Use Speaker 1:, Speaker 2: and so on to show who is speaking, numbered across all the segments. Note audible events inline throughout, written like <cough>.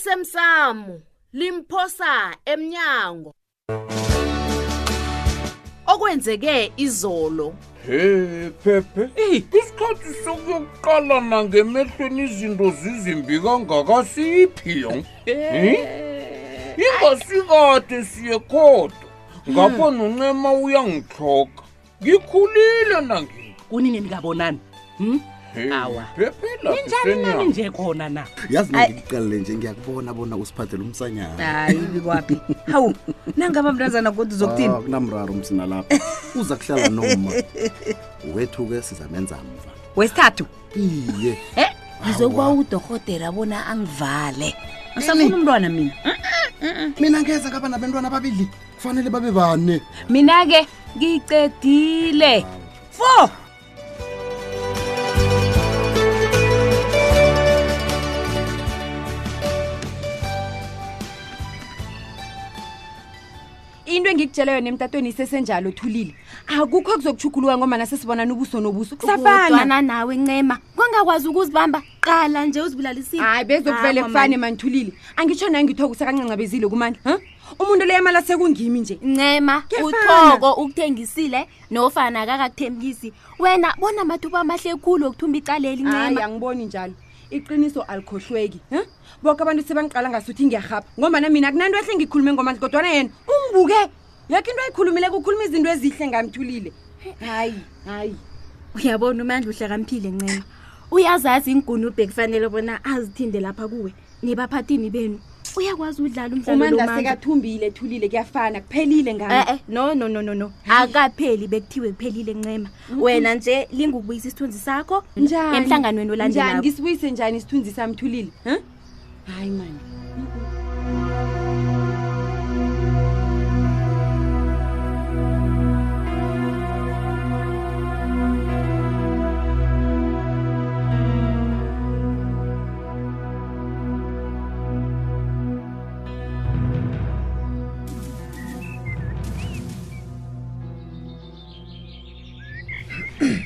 Speaker 1: osemsamo limphosa emnyango okwenzeke izolo
Speaker 2: he phephe
Speaker 3: eyi
Speaker 2: isikhathi sokuyokuqalana ngemehlweni izinto zizimbi kangakasiyiphi yo Hmm? ingasikade siye khoda ngapho
Speaker 3: Hmm.
Speaker 2: noncema uyangihloka ngikhulile nangini
Speaker 3: kunini nikabonani hm
Speaker 2: He,
Speaker 3: Awa.
Speaker 2: phephe laphi
Speaker 3: ninjani nani
Speaker 2: senyama?
Speaker 3: nje khona na
Speaker 4: yazi ngikuqalele nje ngiyakubona bona usiphathele umsanyana
Speaker 5: hayi bikwaphi hawu nangaba mntazana kodwa uzokuthini
Speaker 4: kunamraro umsina lapha uza kuhlala noma wethu-ke sizamenza mva
Speaker 5: wesithathu
Speaker 4: iye
Speaker 5: e
Speaker 4: Awa.
Speaker 5: ngizokuba udorhotera bona angivale asafuna umntwana mina
Speaker 4: mina ngeza ngaba nabantwana ababili kufanele babe bane
Speaker 5: mina-ke ngicedile four
Speaker 6: into engikutshela yona emtatweni isesenjalo thulile akukho kuzokuchuguluka ngomana sesibonana ubuso nobuso kusafana
Speaker 7: kodwana nawe ncema kwangakwazi ukuzibamba qala nje uzibulalisile
Speaker 6: hayi bezokuvele
Speaker 7: Awa,
Speaker 6: kufane
Speaker 7: man.
Speaker 6: manithulile angitsho naye ngithoko sekancancabezile kumandla ha umuntu leyo mala sekungimi nje
Speaker 7: ncema
Speaker 6: Kuyafana.
Speaker 7: uthoko ukuthengisile nofana kakakuthembisi wena bona amathuba amahle khulu wokuthumba icaleli
Speaker 6: hayi
Speaker 7: ncema
Speaker 6: angiboni njalo iqiniso alikhohlweki ha boke abantu sebangiqala ngasuthi ngiyarhapha ngomana mina kunanto ehle ngikhulume ngomandla kodwana yena ungibuke yakho into ayikhulumile kukhuluma izinto ezihle ngamthulile hayi hayi
Speaker 7: uyabona umandla uhlakamphile ncema uyazazi ingunubhe ekufanele bona azithinde lapha kuwe nebaphathini benu uyakwazi udlala umdlalo
Speaker 6: umandla
Speaker 7: lomandla
Speaker 6: sekathumbile thulile kuyafana kuphelile ngami
Speaker 7: e-e eh. no no no no no akapheli bekuthiwe kuphelile ncema wena nje lingukubuyisa isithunzi sakho
Speaker 6: njani
Speaker 7: emhlanganweni
Speaker 6: Njani?
Speaker 7: olandelako
Speaker 6: ngisibuyise njani isithunzi samthulile ha hayi mani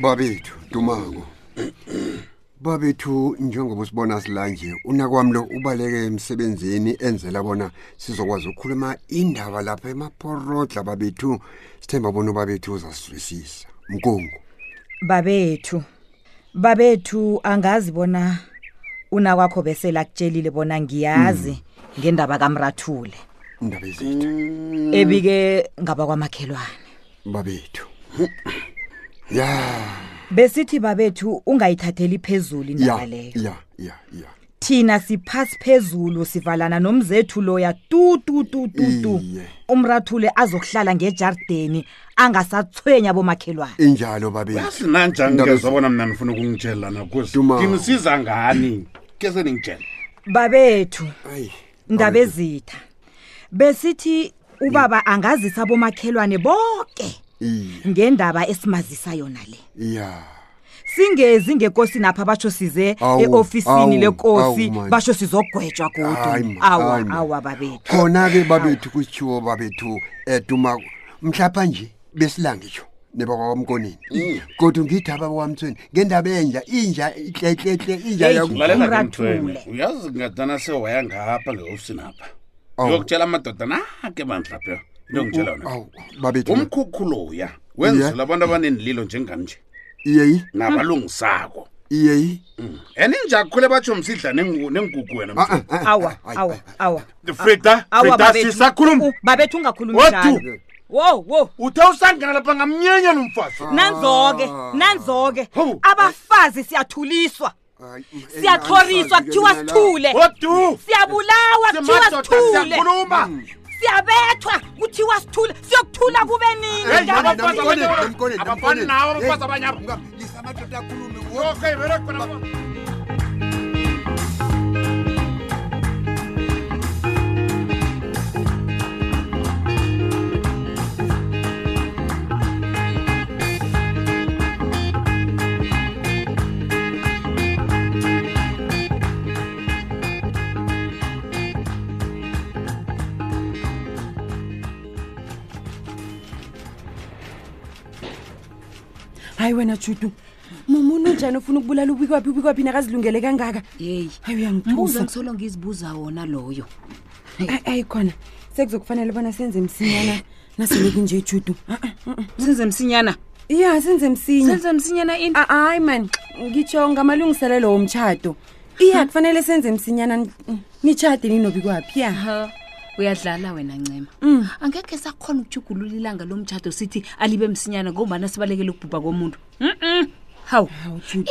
Speaker 8: babethu dumako babethu njengoba usibona silanje unakwami lo ubaleke emsebenzini enzela bona sizokwazi ukukhuluma indaba lapha emaporodla babethu sithemba bona ubabethu uzasizwisisa mkungu
Speaker 9: babethu babethu angazi bona una kwakho besela kutshelile bona ngiyazi mm. ngendaba kamrathule
Speaker 8: indaba ezitha
Speaker 9: mm. ebike ngaba kwamakhelwane
Speaker 8: babethu ya
Speaker 9: besithi babethu ungayithatheli phezulu indaba
Speaker 8: ya
Speaker 9: leyo
Speaker 8: ya ya ya
Speaker 9: thina siphasi phezulu sivalana nomzethu loya tu tu tu tu tu
Speaker 8: Iye.
Speaker 9: umrathule azokuhlala ngejardeni angasathwenya bomakhelwane
Speaker 8: injalo babethu
Speaker 10: sinanjani
Speaker 8: Ndaba
Speaker 10: ke
Speaker 8: ezi-
Speaker 10: zabona mna nifuna ukungitshelana
Speaker 8: Duma.
Speaker 10: kuzinisiza ngani ke seningitshela
Speaker 9: babethu
Speaker 8: ayi
Speaker 9: ndaba ezitha besithi ubaba angazisa bomakhelwane bonke
Speaker 8: iye
Speaker 9: ngendaba esimazisa yona le
Speaker 8: ya
Speaker 9: singezi ngekosini apha batsho size
Speaker 8: Awu,
Speaker 9: eofisini
Speaker 8: awu,
Speaker 9: lekosi
Speaker 8: awu, man.
Speaker 9: basho sizogwetshwa
Speaker 8: Hayi,
Speaker 9: kudu
Speaker 8: man,
Speaker 9: awa
Speaker 8: hayi, man.
Speaker 9: awa babethu
Speaker 8: khona-ke babethu kutshiwo babethu edumako mhlapha nje besilangisho nebakwamkoneni kodwa ngithi abakwamthweni ngendaba enja inja ihlehlehle inja
Speaker 9: Hey,
Speaker 8: yaku-
Speaker 9: la-
Speaker 10: lalela ke
Speaker 9: Umrathule.
Speaker 10: mthwene uyazi ngadana sewaya ngapha ngehofisini apha
Speaker 8: Awu.
Speaker 10: yokutshela amadoda nake bandlapha into ngitshela yona
Speaker 8: awu babethu
Speaker 10: umkhukhu loya
Speaker 8: Iye.
Speaker 10: wenzela abantu abanenililo njengani nje
Speaker 8: iyeyi
Speaker 10: nabalungisako
Speaker 8: iyeyi
Speaker 10: and inja kukhule batsho msidla nengu- nengugu wena
Speaker 8: Ah, ah,
Speaker 10: mthwene.
Speaker 8: ah,
Speaker 9: awa
Speaker 8: ah, ah,
Speaker 9: awa
Speaker 8: ah, ah.
Speaker 9: awa
Speaker 10: frida
Speaker 9: awa
Speaker 10: frida
Speaker 9: babethu.
Speaker 10: sisakhuluma
Speaker 9: U- babethu ungakhulumi
Speaker 10: Wethu.
Speaker 9: njalo wo wo
Speaker 10: uthe usangena lapha ngamnyenya lomfazi
Speaker 8: Ah.
Speaker 9: nanzo-ke nanzo-ke
Speaker 10: Hawu.
Speaker 9: abafazi siyathuliswa
Speaker 8: Hayi, eh,
Speaker 9: siyathoriswa
Speaker 8: angisazi-ke
Speaker 9: kuthiwa
Speaker 8: mina la.
Speaker 9: sithule
Speaker 10: odu
Speaker 9: siyabulawa kuthiwa
Speaker 10: simadoda
Speaker 9: Eh. sithule Mm.
Speaker 10: siyakhuluma
Speaker 9: siyabethwa kuthiwa sithule siyokuthula kube nini
Speaker 10: Hey,
Speaker 8: Hey,
Speaker 10: Ndaba
Speaker 8: namkoneni,
Speaker 10: abafazi
Speaker 9: njalo
Speaker 10: abanye-
Speaker 8: namkoneni, namkoneni,
Speaker 10: Abafani
Speaker 8: namkoneni.
Speaker 10: nawe, abafazi
Speaker 8: Hey,
Speaker 10: abanye abo.
Speaker 8: unga- yisa amadoda akhulume, wo-
Speaker 10: Okay, very good.
Speaker 3: hayi wena judu
Speaker 6: mumuntu onjani ofuna ukubulala ubikwaphi ubikwaphi nakazilungele kangaka
Speaker 5: yeyi
Speaker 6: hayi
Speaker 5: mbuzo
Speaker 6: uyangithusa
Speaker 5: ngisolo ngizibuza wona loyo
Speaker 6: Ay- ayi khona sekuzokufanele bona senze msinyana nasele kunje ijudu
Speaker 5: senze msinyana
Speaker 6: iya senze msinya
Speaker 5: senze msinyana ini
Speaker 6: A- hayi mani ngitsho ngamalungiselelo womtshato iya kufanele senze msinyana ni- nitshade ninobikwaphi ya
Speaker 5: Ha, uyadlala wena ncema
Speaker 6: Mm.
Speaker 5: angekhe sakhona ukujugulula ilanga lomtshato sithi alibe msinyana ngombana sibalekele ukubhubha komuntu Mm-mm. hawu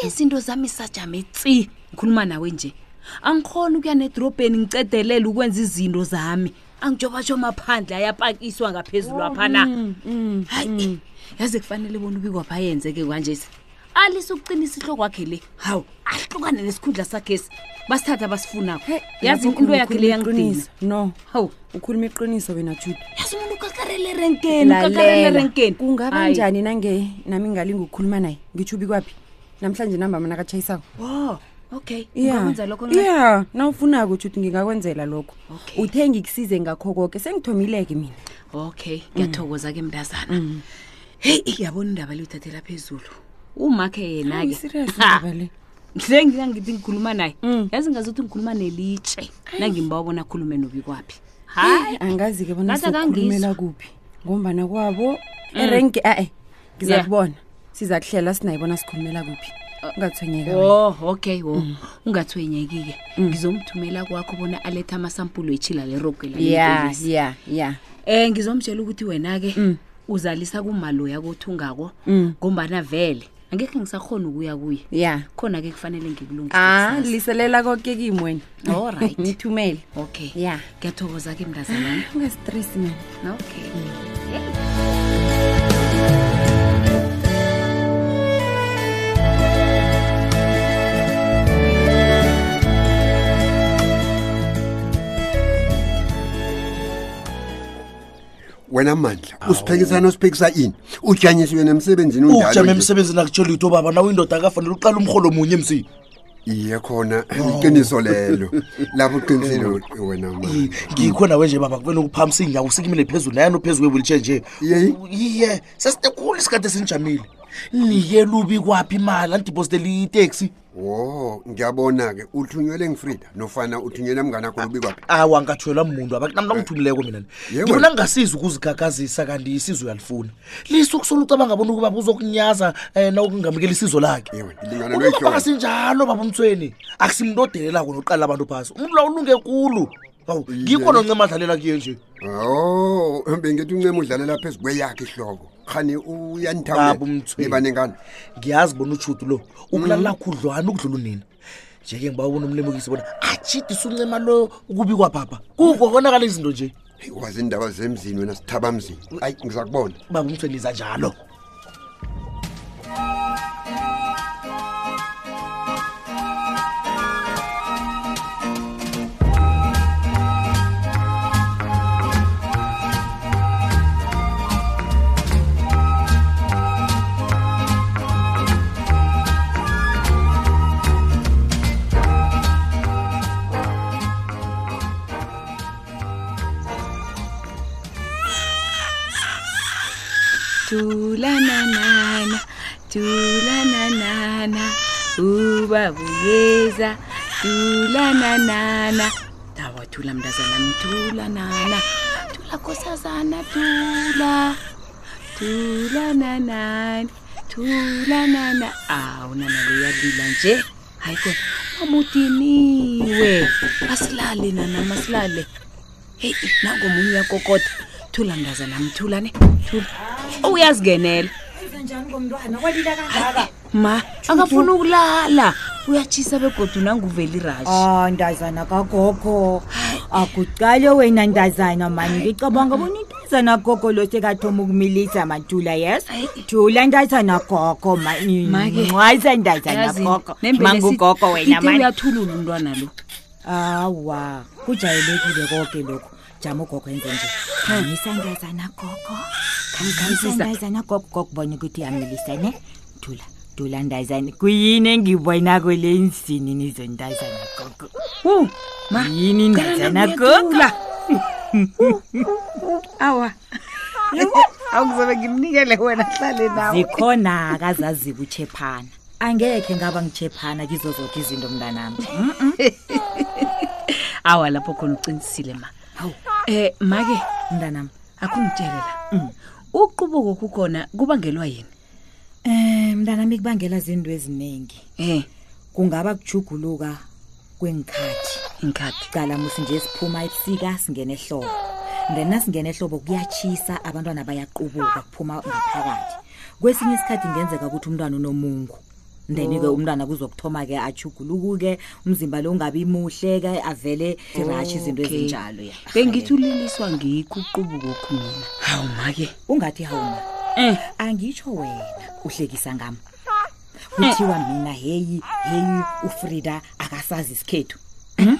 Speaker 5: izinto zami sajame tsi ngikhuluma nawe nje angikhona ukuya nedorobheni ngicedelele ukwenza izinto zami angitshobatsho maphandle ayapakiswa
Speaker 6: Oh,
Speaker 5: ngaphezulu aphana
Speaker 6: mm,
Speaker 5: hayi yaze kufanele bona ubikwapha ayenze-ke kwanjesi alise ukuqinisa ihlokwakhe le hawu ahlukane nesikhundla sakhesi basithatha basifunako
Speaker 6: Hey,
Speaker 5: yazi
Speaker 6: lapho
Speaker 5: into yakhe le
Speaker 6: ukhuluma
Speaker 5: yangidina
Speaker 6: iqiniso. no
Speaker 5: hawu
Speaker 6: ukhuluma iqiniso wena judu
Speaker 5: yazi umuntu ukakarele erenkeni ukakarele erenkeni
Speaker 6: kungaba
Speaker 5: Hayi.
Speaker 6: njani nange nami ngalinga ukukhuluma naye ngitsho ubikwaphi namhlanje namba mana katshayisako
Speaker 5: wo okay
Speaker 6: ya
Speaker 5: ungakwenza lokho ncema?
Speaker 6: ya nawufunako judu ngingakwenzela lokho
Speaker 5: Okay.
Speaker 6: uthe ngikusize ngakho koke sengithomileke mina
Speaker 5: okay ngiyathokoza ke
Speaker 6: Mm.
Speaker 5: mntazana heyi yabona indaba liyithathela phezulu umakhe
Speaker 6: Hawu,
Speaker 5: yena-ke
Speaker 6: i-serious indaba le.
Speaker 5: mhle ngiyangithi ngikhuluma naye
Speaker 6: Mm.
Speaker 5: yazi ngazuthi ngikhuluma nelitshe nangimbawabona bona akhulume nobi kwaphi hayi
Speaker 6: angazi-ke bona
Speaker 5: Ngathi akangizwa. Mm.
Speaker 6: sokhulumela kuphi ngombana kwabo erenke a-e
Speaker 5: Yeah. Oh.
Speaker 6: ngiza kubona siza kuhlela sinaye bona sikhulumela kuphi ungathonyeka wena.
Speaker 5: o Oh, okay wo
Speaker 6: Mm.
Speaker 5: ungathwenyeki-ke ngizomthumela kwakho bona alethe amasampulo etshila lerogela
Speaker 6: ya ya ya
Speaker 5: Eh ngizomtshela ukuthi wena ke
Speaker 6: Mm.
Speaker 5: uzalisa kumaloya kothungako ngombana vele angeke ngisakhona ukuya kuye.
Speaker 6: ya
Speaker 5: Khona ke kufanele ngikulungise.
Speaker 6: a
Speaker 5: kusasa.
Speaker 6: liselela koke kimi wena
Speaker 5: All <laughs> right.
Speaker 6: ngithumele
Speaker 5: Okay.
Speaker 6: Ya.
Speaker 5: Ngiyathokoza ke mntazana.
Speaker 6: ungastress mina
Speaker 5: Okay.
Speaker 8: wena mandla usiphekisana usiphekisa ini utyanyisiwe nemsebenzini unjalo
Speaker 11: ujama
Speaker 8: nje.
Speaker 11: emsebenzini akutshela ukuthi ubaba nawe indoda akafanele uqala umrholo munye emsini
Speaker 8: iye khona iqiniso lelo lapho uqinisile wena mandla
Speaker 11: ngikho nawe nje baba kufele ukuphamisa iinyawo usikimele phezulu nayani phezu kwe-wheelchair nje
Speaker 8: Yeyi.
Speaker 11: iye sesinekhulu isikhathi esinijamile nikela ubi kwaphi imali andiphostele iteksi
Speaker 8: wo ngiyabona-ke uthunyelwe ngifrida nofana uthunyelwe mnganakho lubikwaphi
Speaker 11: awa ngathuelwa muntu abanamntu angithumileko mina
Speaker 8: Ye,
Speaker 11: ngibona
Speaker 8: wena.
Speaker 11: ngingasizi ukuzigagazisa kanti isizo uyalifuna lisuke sola ucabanga bona ukuba buzokunyaza um nawukungamukela isizo lakhe
Speaker 8: Ye, wena, lingana
Speaker 11: unobaba
Speaker 8: lwehlobo.
Speaker 11: kasinjalo baba umthweni akusimntu odelelako noqala abantu phasi umuntu la ulunge kulu awu ngikho noncema adlalela kuye nje
Speaker 8: o Oh, bengithi uncema udlalela phezu kweyakho ihloko khani
Speaker 11: Baba uMthweni.
Speaker 8: uyanithabanengane
Speaker 11: ngiyazi bona utshutu lo ukulala khudlwana ukudlula unina nje-ke ngiba ubona umlemukisi bona ajidise uncema lo ukubikwa phapha kukokonakala izinto nje
Speaker 8: wazi indaba zemzini wena sithaba mzini ayi ngiza kubona
Speaker 11: baba umthweni iza njalo
Speaker 5: Tulananana, tulananana, ubabuyeza, tulananana. Dawa thula mntazana mtulanana, thula kosazana thula, tulananani, tulanana. Ah, Awu nana luyalila nje, hayi kona mama udiniwe, masilale nana masilale. heyi nangomunye uyakokoda thula mntazana mthula ne thula uyazingenela ma angafuni ukulala uyatshisa begodu nanguveli rashi
Speaker 9: Ah, ndazana kagogo. Akuqale wena ndazana mani ngicabanga bona intazana gogo lo sekathoma ukumilisa matula yes.
Speaker 5: Ayi.
Speaker 9: Thula ndazana gogo mani.
Speaker 5: Make.
Speaker 9: Ngwaza ndazana gogo. Mangugogo wena mani.
Speaker 5: uyathulula umntwana lo
Speaker 9: Awa, kujayelekile konke lokho. Jama ugogo enze nje. Khangisa ndazana gogo. Khangisa
Speaker 5: Khangisa.
Speaker 9: ndazana gogo gogo bona ukuthi uyamilisa ne. Thula. Thula ndazana. Kuyini engibona kule nsini nizondazana gogo.
Speaker 5: hu ma
Speaker 9: yini ndazana
Speaker 5: uyathula.
Speaker 9: gogo
Speaker 5: awa awukuzobe ngimnikele wena hlale nawe
Speaker 9: zikhona-ke azazibutshephana angekhe ngaba ngitshephana kizo zonke izinto mntanami Mm-mm.
Speaker 5: awa lapho khona ucinisile ma hawu um make
Speaker 9: mntanam
Speaker 5: akungitshelela Mm. uqubuko kukhona kubangelwa yini
Speaker 9: um mntanami kubangela zinto eziningi
Speaker 5: um
Speaker 9: kungaba kujuguluka kwengikhathi
Speaker 5: inkhathi
Speaker 9: calamusi nje siphuma ebusika singena ehlobo ngena singena ehlobo kuyatshisa abantwana bayaqubuka kuphuma ngaphakathi kwesinye isikhathi kungenzeka ukuthi umntwana unomungu then-ke
Speaker 5: Oh.
Speaker 9: umntwana kuzokuthoma-ke ajuguluku-ke umzimba lo ungabi muhle-ke avele irashi izinto
Speaker 5: Oh, Okay.
Speaker 9: ezinjalo ya
Speaker 5: bengithi uliliswa ngikho uqubuko khumina hawu make
Speaker 9: ungathi hawuma
Speaker 5: Eh.
Speaker 9: angitsho wena uhlekisa ngami kuthiwa mina heyi heyi ufrida akasazi isikhethu
Speaker 5: Hmm?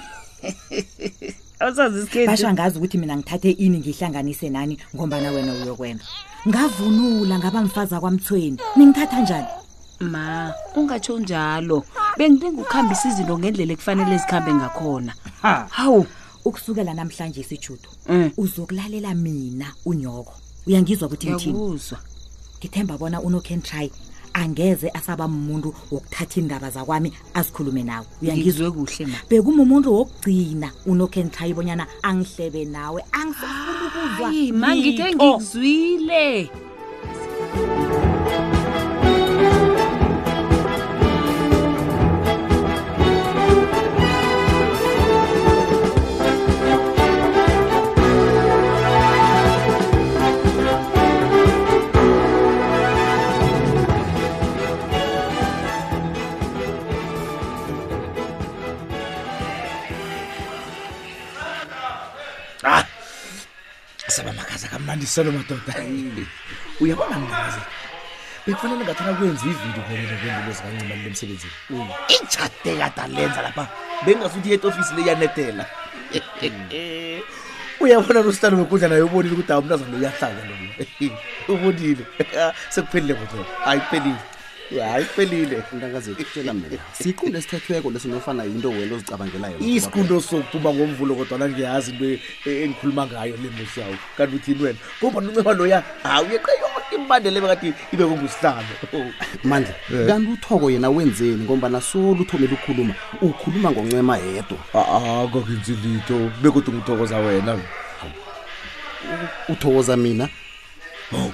Speaker 9: <laughs>
Speaker 5: awusazi isikhethu
Speaker 9: basho angazi ukuthi mina ngithathe ini ngihlanganise nani ngombana wena uyokwemba ngavunula ngaba mfaza kwamthweni ningithatha njani
Speaker 5: ma ungatsho njalo bengibengukuhambisa izinto ngendlela ekufanele zikhambe ngakhona hawu
Speaker 9: ukusukela namhlanje isijudo
Speaker 5: Hmm.
Speaker 9: uzokulalela mina unyoko uyangizwa ukuthi ngithini ngithemba bona unocan try angeze asaba muntu wokuthatha iindaba zakwami azikhulume nawe uyangizwa
Speaker 5: uyangizwe kuhle ma
Speaker 9: bekumumuntu wokugcina unocan try bonyana angihlebe nawe angisafuna ukuzwa
Speaker 5: hayi oh. ma ngithe
Speaker 9: litho.
Speaker 5: ngikuzwile
Speaker 11: ah saba makhaza kamnandiselo madoda uyabona mnikazi bekufanele ngathana kwenza ividiyo konele kwendulo zikancimani lemsebenzini itshate kada lenza lapha bengingasuthi yet ofisi leyanetela uyabona losihlalo wekundla naye ubonile ukuthi awu mntazana lo uyahlaza lona ubonile <laughs> sekuphelile kodwa hayi kuphelile hayi kuphelile
Speaker 4: mntangazetshela mina siqundo esithethweko leso nofana yinto wena ozicabangelayo
Speaker 11: isiqundo sokuphuma ngomvulo kodwana ngiyazi into e- e- engikhuluma ngayo le musi yawo kanti uthini wena ngoba noncema loya hawu yeqa yonke imbandela ebekade ibe
Speaker 4: <laughs>
Speaker 11: kungusihlalo
Speaker 4: mandla
Speaker 11: Eh.
Speaker 4: kanti uthoko yena wenzeni ngombana solo uthomele ukukhuluma ukhuluma ngoncema yedwa ah,
Speaker 11: akakenzi litho bekuthi ngithokoza wena
Speaker 4: uthokoza mina
Speaker 11: hawu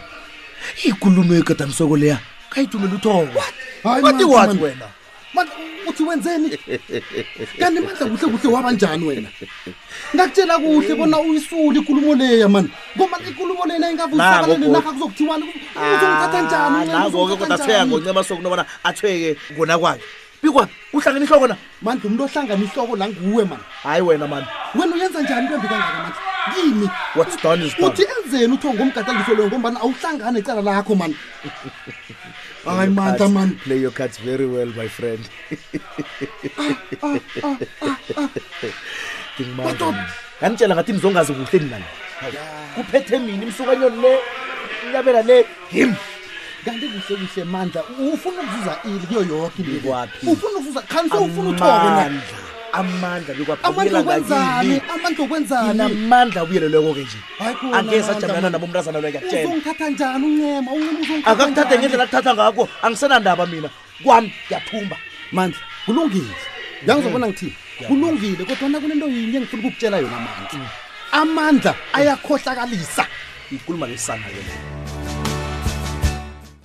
Speaker 11: ikulumo egadamisoko leya khayithumela uthoko wathi wathi wena
Speaker 4: mandla uthi wenzeni kanti mandla kuhle kuhle wabanjani wena ngakutshela kuhle bona uyisule ikulumo leya mani ngombana ikulumo lena
Speaker 11: Nako
Speaker 4: ingavusabalenenarha
Speaker 11: gogo.
Speaker 4: kuzokuthiwani uzomthatha njani uNcema?
Speaker 11: nako-ke Ah, kodwa atheka ngoncema sokunobana athweke kona kwakhe bikwa uhlangana ihloko na
Speaker 4: mandla umntu ohlangana ihloko nanguwe mani
Speaker 11: hayi wena mani
Speaker 4: wena uyenza njani into embi kangaka mandla yini
Speaker 11: what's done is done
Speaker 4: uthi enzeni uthiwa ngomgadangiso loyo ngombana awuhlangane icala
Speaker 11: <laughs>
Speaker 4: lakho mani hayi
Speaker 11: your
Speaker 4: mandla
Speaker 11: cards-
Speaker 4: mani
Speaker 11: play your cards very well my friend
Speaker 4: Ah,
Speaker 11: ngimandla ngantshela ngathi nizongazi kuhle mina la. kuphethe mina imsukanyoni le inyabela le him
Speaker 4: kanti kuhle kuhle mandla ufuna ukuzuza ili kuyo yoke into le.
Speaker 11: Ikwaphi?
Speaker 4: ufuna ukuzuza khanise ufuna uthoke na
Speaker 11: Amandla, amandla
Speaker 4: amandla okwenzani amandla okwenzani
Speaker 11: amandla abuyelelweko ke nje
Speaker 4: Hayi khona,
Speaker 11: angeze
Speaker 4: Mandla.
Speaker 11: ajamelana nabo umntazana loyo yakutshela
Speaker 4: uzongithatha njani uncema uncema uzongithatha
Speaker 11: akakuthathe
Speaker 4: njani?
Speaker 11: ngendlela akuthatha ngakho angisenandaba mina kwami ngiyathumba
Speaker 4: mandla kulungile yangizobona ngithini kulungile kodwa na kunento yinye engifuna ukukutshela yona mandla amandla ayakhohlakalisa
Speaker 11: ikhuluma ngesana yena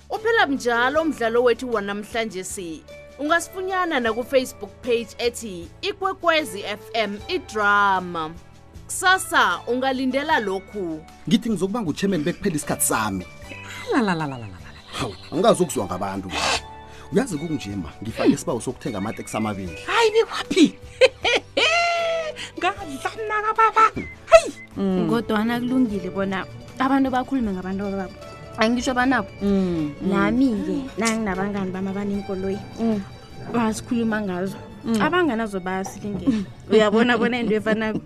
Speaker 1: uphela njalo umdlalo wethu wanamhlanje si ungasifunyana nakufacebook page ethi ikwekwezi fm idrama kusasa ungalindela lokhu
Speaker 4: ngithi ngizokuba nguchemeni bekuphela isikhathi sami
Speaker 1: lalalalalala
Speaker 4: hawu angikazi ukuzwa ngabantu uyazi kunjima ngifake isibawo sokuthenga amateksi amabili
Speaker 5: hayi bikwaphi
Speaker 7: ngadlanaka baba hayi
Speaker 5: Mm.
Speaker 7: kodwana kulungile bona abantu bakhulume ngabantu babo angisho banabo
Speaker 5: Mm,
Speaker 7: nami-ke nanginabangani bami abanenkoloyi
Speaker 5: Mm. Mm.
Speaker 7: basikhuluma ngazo abanganazo bayasilingela uyabona bona into efanako